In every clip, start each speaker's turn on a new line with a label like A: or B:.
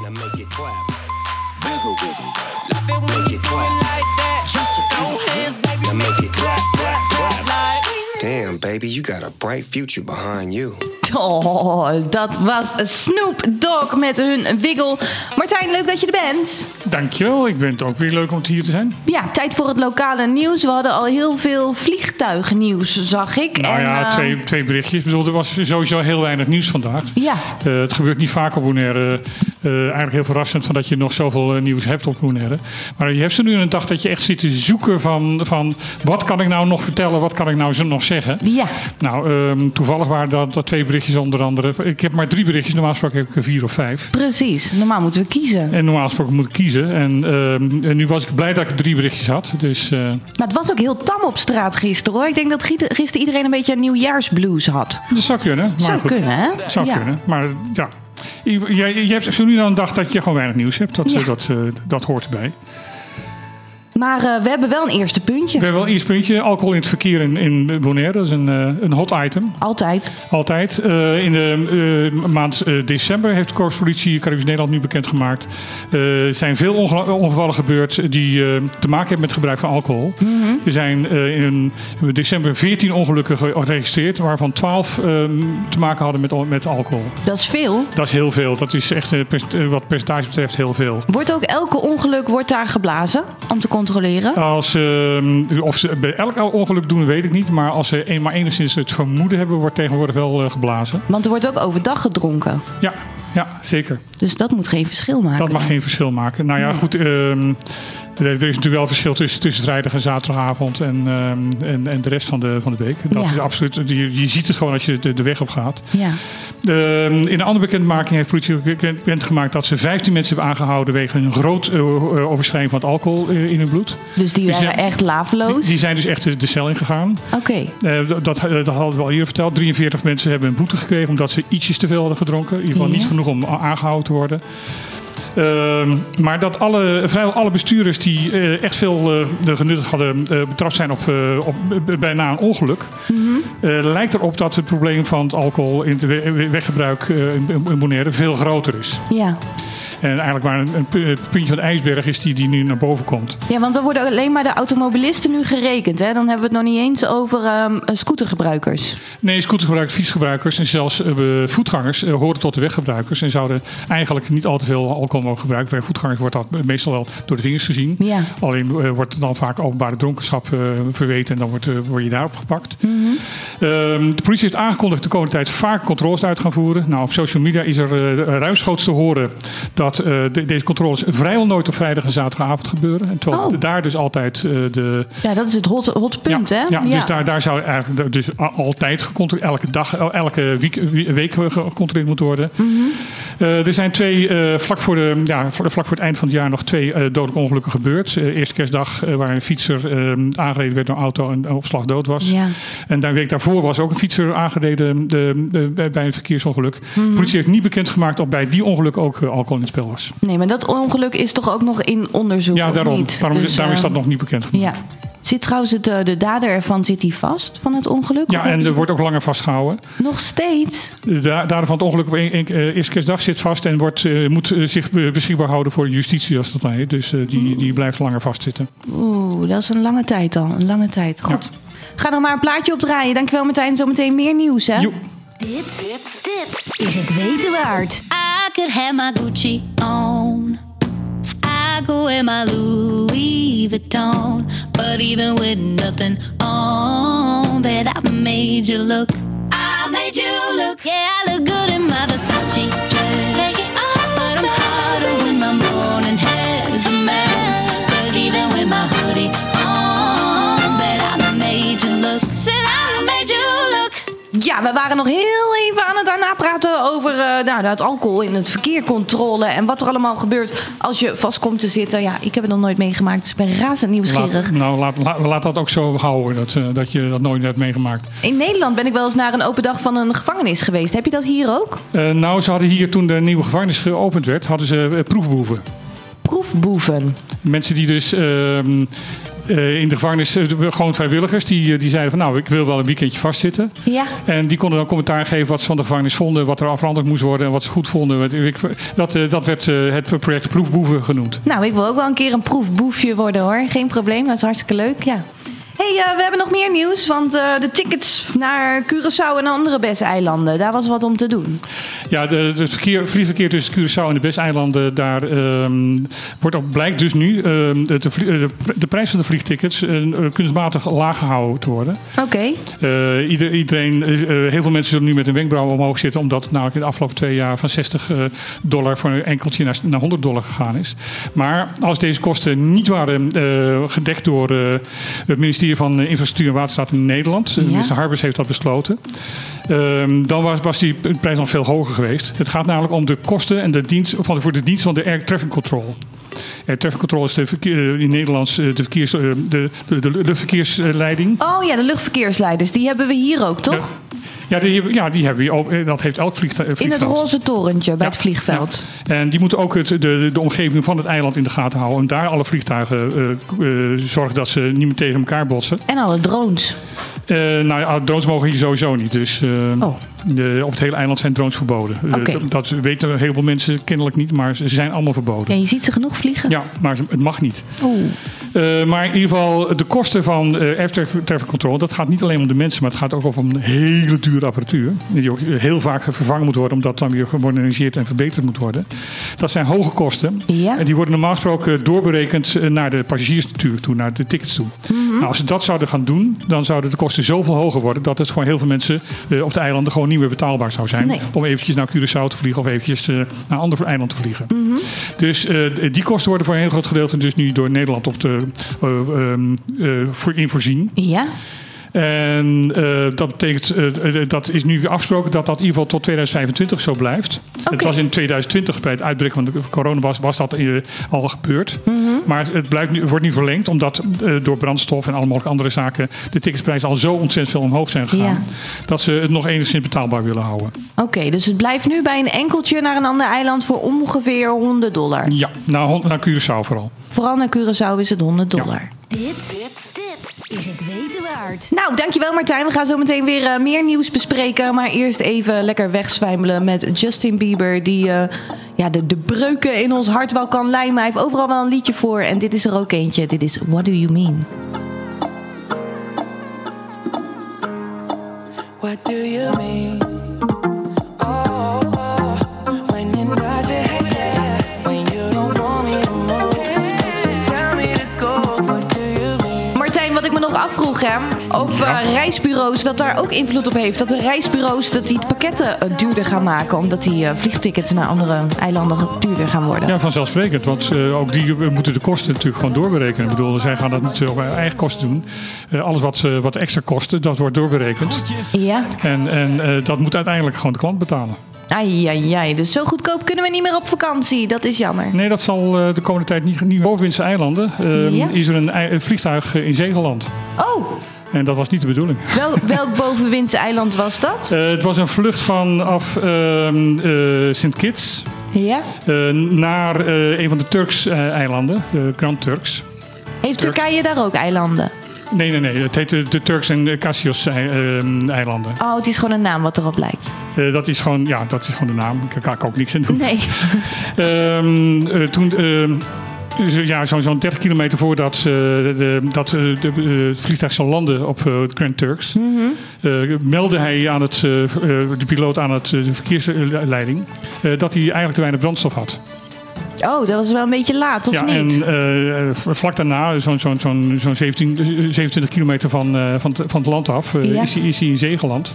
A: Now make it clap.
B: Wiggle, wiggle. Love it when you do it like that. Just throw hands, baby.
A: Now make it clap, clap, clap.
B: Like.
A: Damn, baby, you got a bright future behind you.
C: Oh, dat was Snoop Dogg met hun wiggle. Martijn, leuk dat je er bent.
D: Dankjewel, ik vind het ook weer leuk om hier te zijn.
C: Ja, tijd voor het lokale nieuws. We hadden al heel veel vliegtuignieuws, zag ik.
D: Nou
C: En,
D: ja,
C: eh,
D: twee, twee berichtjes. Ik bedoel, er was sowieso heel weinig nieuws vandaag.
C: Ja.
D: Eh, het gebeurt niet vaak op Bonaire. Eh, eh, eigenlijk heel verrassend van dat je nog zoveel eh, nieuws hebt op Bonaire. Maar je hebt er nu een dag dat je echt zit te zoeken van, van... wat kan ik nou nog vertellen, wat kan ik nou zo nog zeggen?
C: Ja.
D: Nou, ehm, toevallig waren dat, dat twee berichtjes onder andere. Ik heb maar drie berichtjes, normaal gesproken heb ik er vier of vijf.
C: Precies, normaal moeten we kiezen.
D: En normaal gesproken moet ik kiezen. En, ehm, en nu was ik blij dat ik drie berichtjes had. Dus eh,
C: Maar het was ook heel tam op straat gisteren hoor. Ik denk dat giet- gisteren iedereen een beetje een nieuwjaarsblues had.
D: dat zou kunnen. Maar
C: Zou
D: Nou, goed.
C: kunnen, hè?
D: Zou
C: Ja.
D: kunnen, maar ja. Je, je, je hebt zo nu dan een dag dat je gewoon weinig nieuws hebt. Dat,
C: Ja.
D: eh, dat, eh, dat hoort erbij.
C: Maar eh, we hebben wel een eerste puntje.
D: We hebben wel een eerste puntje. Alcohol in het verkeer in, in Bonaire. Dat is een, eh, een hot item.
C: Altijd.
D: Altijd. Eh, in de eh, maand eh, december heeft de Korpspolitie Caribisch Nederland nu bekendgemaakt. Eh, Er zijn veel onge- ongevallen gebeurd die eh, te maken hebben met gebruik van alcohol.
C: Mhm.
D: Er zijn eh, in december 14 ongelukken geregistreerd, waarvan 12 eh, te maken hadden met, al- met alcohol.
C: Dat is veel.
D: Dat is heel veel. Dat is echt eh, perc- eh, wat percentage betreft heel veel.
C: Wordt ook elke ongeluk wordt daar geblazen om te controleren?
D: Als, ehm, of ze bij elk ongeluk doen, weet ik niet. Maar als ze eenmaal enigszins het vermoeden hebben, wordt tegenwoordig wel eh, geblazen.
C: Want er wordt ook overdag gedronken.
D: Ja, ja zeker.
C: Dus dat moet geen verschil maken.
D: Dat mag geen verschil maken. Nou ja, goed. ehm, er er is natuurlijk wel verschil tussen, tussen vrijdag en zaterdagavond en, ehm, en, en de rest van de, van de week. Dat
C: Ja.
D: is absoluut. Je, je ziet het gewoon als je de, de weg op gaat.
C: Ja.
D: Ehm, in een andere bekendmaking heeft politie ook bekendgemaakt dat ze 15 mensen hebben aangehouden wegens een groot eh, eh, overschrijding van het alcohol eh, in hun bloed.
C: Dus die
D: Die
C: waren
D: zijn-
C: echt laveloos.
D: Die, die zijn dus echt de, de cel ingegaan.
C: Oké.
D: Eh, dat, dat, eh, dat hadden we al eerder verteld. 43 mensen hebben een boete gekregen omdat ze ietsjes te veel hadden gedronken. In ieder geval
C: Ja.
D: niet genoeg om a- aangehouden te worden. Ehm, maar dat alle, vrijwel alle bestuurders die eh, echt veel eh, de genuttigd hadden eh, betrapt zijn op, eh, op b- bijna een ongeluk. eh, lijkt erop dat het probleem van het alcohol in het we- we- weggebruik eh, in in Bonaire veel groter is.
C: Ja.
D: En eigenlijk maar een, een pu- het puntje van de ijsberg is die, die nu naar boven komt.
C: ja, want dan worden alleen maar de automobilisten nu gerekend. Hè? Dan hebben we het nog niet eens over ehm, eh, scootergebruikers.
D: Nee, scootergebruikers, fietsgebruikers en zelfs eh, voetgangers eh, horen tot de weggebruikers. En zouden eigenlijk niet al te veel alcohol mogen gebruiken. Bij voetgangers wordt dat meestal wel door de vingers gezien.
C: Ja.
D: Alleen eh, wordt dan vaak openbare dronkenschap eh, verweten en dan wordt, eh, word je daarop gepakt.
C: Mhm.
D: Ehm, de politie heeft aangekondigd de komende tijd vaak controles uit te gaan voeren. Nou, op social media is er eh, ruimschoots te horen dat eh, de- deze controles vrijwel nooit op vrijdag en zaterdagavond gebeuren. En terwijl
C: Oh.
D: daar dus altijd eh, de
C: Ja, dat is het hot, hot punt,
D: ja,
C: hè?
D: Ja, dus daar, daar zou eigenlijk dus a- altijd gecontroleerd, elke dag, el- elke week, wie- week gecontroleerd moeten worden.
C: Mhm.
D: Eh, er zijn twee, eh, vlak, voor de, ja, voor- vlak voor het eind van het jaar nog twee eh, dodelijke ongelukken gebeurd. Eh, eerste kerstdag eh, waar een fietser eh, aangereden werd door een auto en eh, op slag dood was.
C: Ja.
D: En daar week daarvoor was ook een fietser aangereden ehm, de, de- bij- bij een verkeersongeluk.
C: Mhm.
D: De politie heeft niet bekendgemaakt of bij die ongeluk ook eh, alcohol in het spel was.
C: Nee, maar dat ongeluk is toch ook nog in onderzoek,
D: Ja,
C: of
D: daarom.
C: niet?
D: Daarom,
C: Dus,
D: daarom is
C: eh,
D: dat nog niet bekendgemaakt.
C: Ja. Zit trouwens het, eh, de dader ervan, zit hij vast van het ongeluk? Of
D: Ja, en
C: is
D: er
C: het
D: wordt ook langer vastgehouden.
C: Nog steeds?
D: De da- dader van Dus het ongeluk op één- één- eh, eerste kerstdag zit vast en wordt, eh, moet eh, zich be- beschikbaar houden voor justitie als dat heet. Dus eh, die, die blijft langer vastzitten.
C: Oeh, dat is een lange tijd al. Een lange tijd. Goed.
D: Ja.
C: Ga er maar een plaatje op draaien. Dankjewel Martijn. Zometeen meer nieuws, hè?
D: Joep.
E: Dit, dit, dit.
F: Is het weten waard?
E: I could have my Gucci on. I go in my Louis Vuitton. But even with nothing on, bet I made you look. I made you look. Yeah, I look good in my Versace dress. Take it off. But I'm hotter when my morning has a mess. 'Cause even with my hoodie on, bet I made you look. Said I made you look.
C: Ja, we waren nog heel even aan het daarna praten over eh nou, het alcohol in het verkeer controle. En wat er allemaal gebeurt als je vast komt te zitten. Ja, ik heb het nog nooit meegemaakt. Dus ik ben razend nieuwsgierig.
D: Laat, nou, laat, laat, laat dat ook zo houden, dat, eh, dat je dat nooit hebt meegemaakt.
C: In Nederland ben ik wel eens naar een open dag van een gevangenis geweest. Heb je dat hier ook?
D: Eh, nou, ze hadden hier toen de nieuwe gevangenis geopend werd, hadden ze eh, proefboeven.
C: Proefboeven.
D: Mensen die dus ehm, eh, in de gevangenis eh, gewoon vrijwilligers. Die, eh, die zeiden van nou, ik wil wel een weekendje vastzitten.
C: Ja.
D: En die konden dan commentaar geven wat ze van de gevangenis vonden. Wat er afveranderd moest worden en wat ze goed vonden. Wat- ik- Dat, eh, dat werd eh, het project Proefboeven genoemd.
C: Nou, ik wil ook wel een keer een proefboefje worden hoor. Geen probleem, dat is hartstikke leuk, ja. hey, eh, we hebben nog meer nieuws, want eh, de tickets naar Curaçao en andere beste-eilanden, daar was wat om te doen.
D: Ja, de, het verkeer, vliegverkeer tussen Curaçao en de Besteilanden, daar ehm, wordt ook, blijkt dus nu ehm, de, vlie- eh, de, de prijs van de vliegtickets eh, kunstmatig laag gehouden te worden.
C: Oké.
D: Eh, ieder- iedereen, eh, eh, heel veel mensen zullen nu met hun wenkbrauwen omhoog zitten, omdat het namelijk in de afgelopen twee jaar van 60 eh, dollar voor een enkeltje naar, naar 100 dollar gegaan is. Maar als deze kosten niet waren eh, gedekt door eh, het ministerie van eh, Infrastructuur en Waterstaat in Nederland,
C: Ja.
D: eh, minister Harbers heeft dat besloten, ehm, dan was, was die prijs nog veel hoger geweest. Het gaat namelijk om de kosten en de dienst, van, voor de dienst van de Air Traffic Control. Air Traffic Control is de verkeer, eh, in Nederlands eh, de, verkeers, eh, de, de, de, de verkeersleiding.
C: Oh ja, de luchtverkeersleiders, die hebben we hier ook, toch?
D: Ja, die, hebben- ja, die hebben we ook. eh, Dat heeft elk vliegtu- eh,
C: In
D: vliegveld.
C: het roze torentje bij het vliegveld.
D: Ja. En die moeten ook het, de, de omgeving van het eiland in de gaten houden. En daar alle vliegtuigen eh, k- eh, zorgen dat ze niet meer tegen elkaar botsen.
C: En alle drones.
D: Eh, nou ja, drones mogen hier sowieso niet. Dus eh,
C: Oh.
D: de- op het hele eiland zijn drones verboden. Eh,
C: Oké.
D: dat, dat weten heel veel mensen kennelijk niet, maar ze zijn allemaal verboden.
C: Ja, je ziet ze genoeg vliegen.
D: Ja, maar het mag niet.
C: Oeh.
D: Eh, maar in ieder geval, de kosten van eh air traffic traffic control, dat gaat niet alleen om de mensen, maar het gaat ook over een hele dure apparatuur. Die ook heel vaak vervangen moet worden, omdat dan weer gemoderniseerd en verbeterd moet worden. Dat zijn hoge kosten.
C: Ja.
D: En die worden normaal gesproken doorberekend eh, naar de passagiers natuurlijk toe, naar de tickets toe.
C: Mhm.
D: Nou, als ze dat zouden gaan doen, dan zouden de kosten zoveel hoger worden dat het voor heel veel mensen eh, op de eilanden gewoon niet meer betaalbaar zou zijn.
C: Nee.
D: Om eventjes naar Curaçao te vliegen of eventjes eh, naar een ander eiland te vliegen.
C: Mhm.
D: Dus eh, die kosten worden voor een heel groot gedeelte dus nu door Nederland op de, eh, ehm, eh, voor in voorzien.
C: Ja?
D: En eh, dat betekent, eh, eh, dat is nu weer afgesproken dat dat in ieder geval tot 2025 zo blijft. Het was in 2020 bij het uitbreken van de corona was, was dat eh, al gebeurd. Maar het blijkt nu, wordt nu verlengd omdat eh, door brandstof en alle mogelijke andere zaken de ticketsprijzen al zo ontzettend veel omhoog zijn gegaan.
C: Ja.
D: Dat ze het nog enigszins betaalbaar willen houden.
C: Oké, dus het blijft nu bij een enkeltje naar een ander eiland voor ongeveer 100 dollar.
D: Ja, naar, Hon- naar Curaçao vooral.
C: Vooral naar Curaçao is het 100 dollar.
F: Dit, dit, dit is het weten waard.
C: Nou, dankjewel Martijn. We gaan zo meteen weer eh, meer nieuws bespreken. Maar eerst even lekker wegzwijmelen met Justin Bieber. Die eh, ja, de, de breuken in ons hart wel kan lijmen. Hij heeft overal wel een liedje voor. En dit is er ook eentje. Dit is What Do You Mean?
B: What do you mean? Oh, oh, oh. when you nod your head, yeah. when you don't want me to move, but you tell me to go. What do you mean?
C: Martijn, wat ik me nog afvroeg, hè, of eh, reisbureaus, dat daar ook invloed op heeft. Dat de reisbureaus dat die pakketten eh, duurder gaan maken. Omdat die eh, vliegtickets naar andere eilanden duurder gaan worden.
D: Ja, vanzelfsprekend. Want eh, ook die eh, moeten de kosten natuurlijk gewoon doorberekenen. Ik bedoel, zij gaan dat niet op hun eigen kosten doen. Eh, alles wat, eh, wat extra kosten, dat wordt doorberekend.
C: ja.
D: En, en eh, dat moet uiteindelijk gewoon de klant betalen.
C: Ai, ai, ai. Dus zo goedkoop kunnen we niet meer op vakantie. Dat is jammer.
D: Nee, dat zal eh, de komende tijd niet niet Boven Windse eilanden eh,
C: Ja.
D: is er een, ei- een vliegtuig eh, in zee geland.
C: Oh,
D: En dat was niet de bedoeling.
C: wel, welk bovenwindse eiland was dat?
D: Eh, het was een vlucht vanaf ehm eh Sint Kitts
C: Ja.
D: eh, naar eh, een van de Turks eh, eilanden, de Grand Turks.
C: Heeft Turkije daar ook eilanden?
D: Nee, nee, nee. Het heet de, de Turks en Cassios-eilanden.
C: Oh, het is gewoon een naam wat erop lijkt.
D: Eh, dat, is gewoon, ja, dat is gewoon de naam. Daar kan ik ook niks aan doen.
C: Nee.
D: Ehm, eh, toen, ehm, zo- ja, zo- zo'n 30 kilometer voordat eh, de, de- dat, eh, de, eh, het vliegtuig zou landen op eh, het Grand Turks,
C: Mhm.
D: eh, meldde hij aan het, eh, eh, de piloot aan het, eh, de verkeersleiding eh, dat hij eigenlijk te weinig brandstof had.
C: Oh, dat was wel een beetje laat, of
D: ja,
C: niet?
D: en eh, eh, vlak daarna, zo'n zo'n zo'n zo'n 17, eh, 27 kilometer van, eh, van, het- van het land af, eh,
C: Ja.
D: is, hij- is hij in zee geland.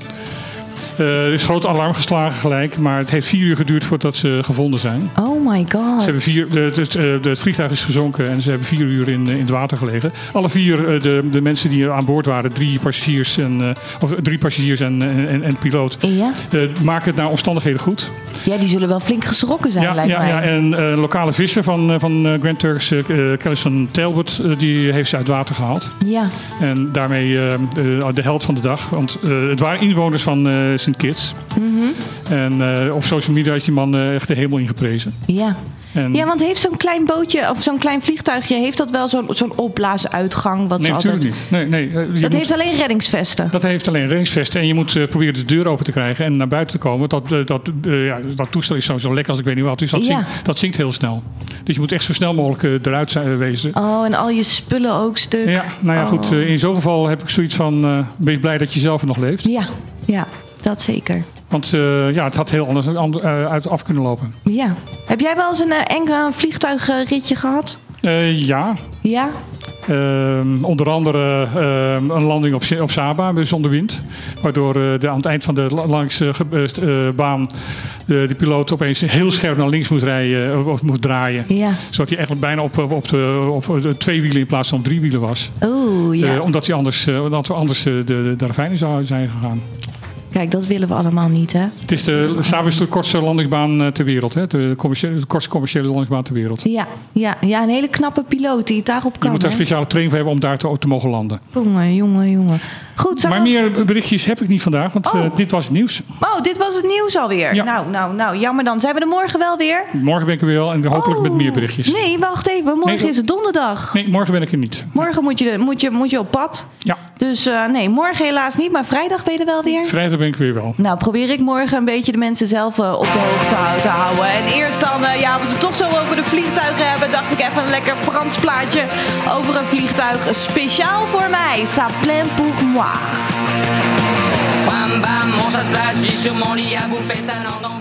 D: Eh, er is groot alarm geslagen gelijk, maar het heeft vier uur geduurd voordat ze gevonden zijn.
C: Oh my
D: eh, Ze
C: god.
D: hebben vier, de, het, eh, de- het vliegtuig is gezonken en ze hebben vier uur in, eh, in het water gelegen. Alle vier eh, de, de mensen die aan boord waren, drie passagiers en, eh, of drie passagiers en, en, en, en piloot,
C: Ja?
D: eh, maken het naar omstandigheden goed.
C: ja, die zullen wel flink geschrokken zijn,
D: Ja,
C: lijkt
D: ja,
C: mij.
D: ja, en eh, lokale visser van, eh, van eh, Grand Turks, eh Callison Talbot, eh, die heeft ze uit water gehaald.
C: Ja.
D: En
C: Mhm.
D: daarmee eh, eh, de helft van de dag. Want eh, het waren inwoners van eh, St. Kitts. En eh, op social media is die man eh, echt de hemel ingeprezen.
C: Ja.
D: En-
C: ja, want heeft zo'n klein bootje of zo'n klein vliegtuigje... heeft dat wel zo'n zo'n opblaasuitgang? Wat
D: Nee,
C: ze altijd...
D: natuurlijk niet. Nee, nee, eh, je
C: Dat
D: moet-
C: heeft alleen reddingsvesten.
D: Dat heeft alleen reddingsvesten en je moet eh, proberen de deur open te krijgen en naar buiten te komen. Dat, eh, dat, eh, ja, dat toestel is sowieso lekker als ik weet niet wat. Dus dat,
C: Ja.
D: zinkt, dat zinkt heel snel. Dus je moet echt zo snel mogelijk eh, eruit zijn, wezen.
C: Oh, en al je spullen ook stuk.
D: Ja, nou ja,
C: Oh.
D: goed. eh, in zo'n geval heb ik zoiets van, eh wees blij dat je zelf nog leeft.
C: Ja, ja, dat zeker.
D: Want eh, ja, het had heel anders ander- eh, uit af kunnen lopen.
C: Ja. Heb jij wel eens een eh, eng eh, vliegtuigritje gehad?
D: Eh, ja,
C: Ja?
D: Ehm, onder andere ehm, een landing op, Z- op Saba dus zonder wind. Waardoor eh, de, aan het eind van de la- langs eh, ge- eh, st- eh, baan eh, de piloot opeens heel scherp naar links moest rijden eh, of moest draaien.
C: Ja.
D: Zodat hij echt bijna op, eh, op, de, op de twee wielen in plaats van op drie wielen was.
C: Oeh, ja.
D: Eh, omdat, hij anders, eh, omdat we anders eh, de, de, de ravijnen zou zijn gegaan.
C: Kijk, dat willen we allemaal niet, hè?
D: Het is de, Saba is de kortste landingsbaan eh, ter wereld. Hè? De, commerciële, de kortste commerciële landingsbaan ter wereld.
C: Ja, ja, ja, een hele knappe piloot die het daarop
D: Je
C: kan.
D: moet daar
C: hè?
D: speciale training voor hebben om daar te, te mogen landen.
C: Jongen, jongen, jongen. Goed, zal
D: Maar meer berichtjes heb ik niet vandaag, want
C: Oh.
D: eh, dit was het nieuws.
C: Oh, dit was het nieuws alweer.
D: Ja.
C: Nou, nou, nou, jammer dan. Zijn we er morgen wel weer?
D: Morgen ben ik er weer wel en hopelijk met meer berichtjes.
C: Oh. Nee, wacht even. Morgen
D: Nee, dat-
C: is het donderdag.
D: Nee, morgen ben ik er niet.
C: Morgen moet je, moet, je, moet je op pad.
D: Ja,
C: Dus eh, nee, morgen helaas niet. Maar vrijdag ben je er wel weer.
D: vrijdag ben ik er weer wel.
C: Nou, probeer ik morgen een beetje de mensen zelf eh, op de hoogte hou- te houden. En eerst dan, eh, ja, als we het toch zo over de vliegtuigen hebben, dacht ik even een lekker Frans plaatje over een vliegtuig. Speciaal voor mij. Ça plein pour moi.
G: Bam bam, on s'asplash, sur mon lit à bouffer sa langue en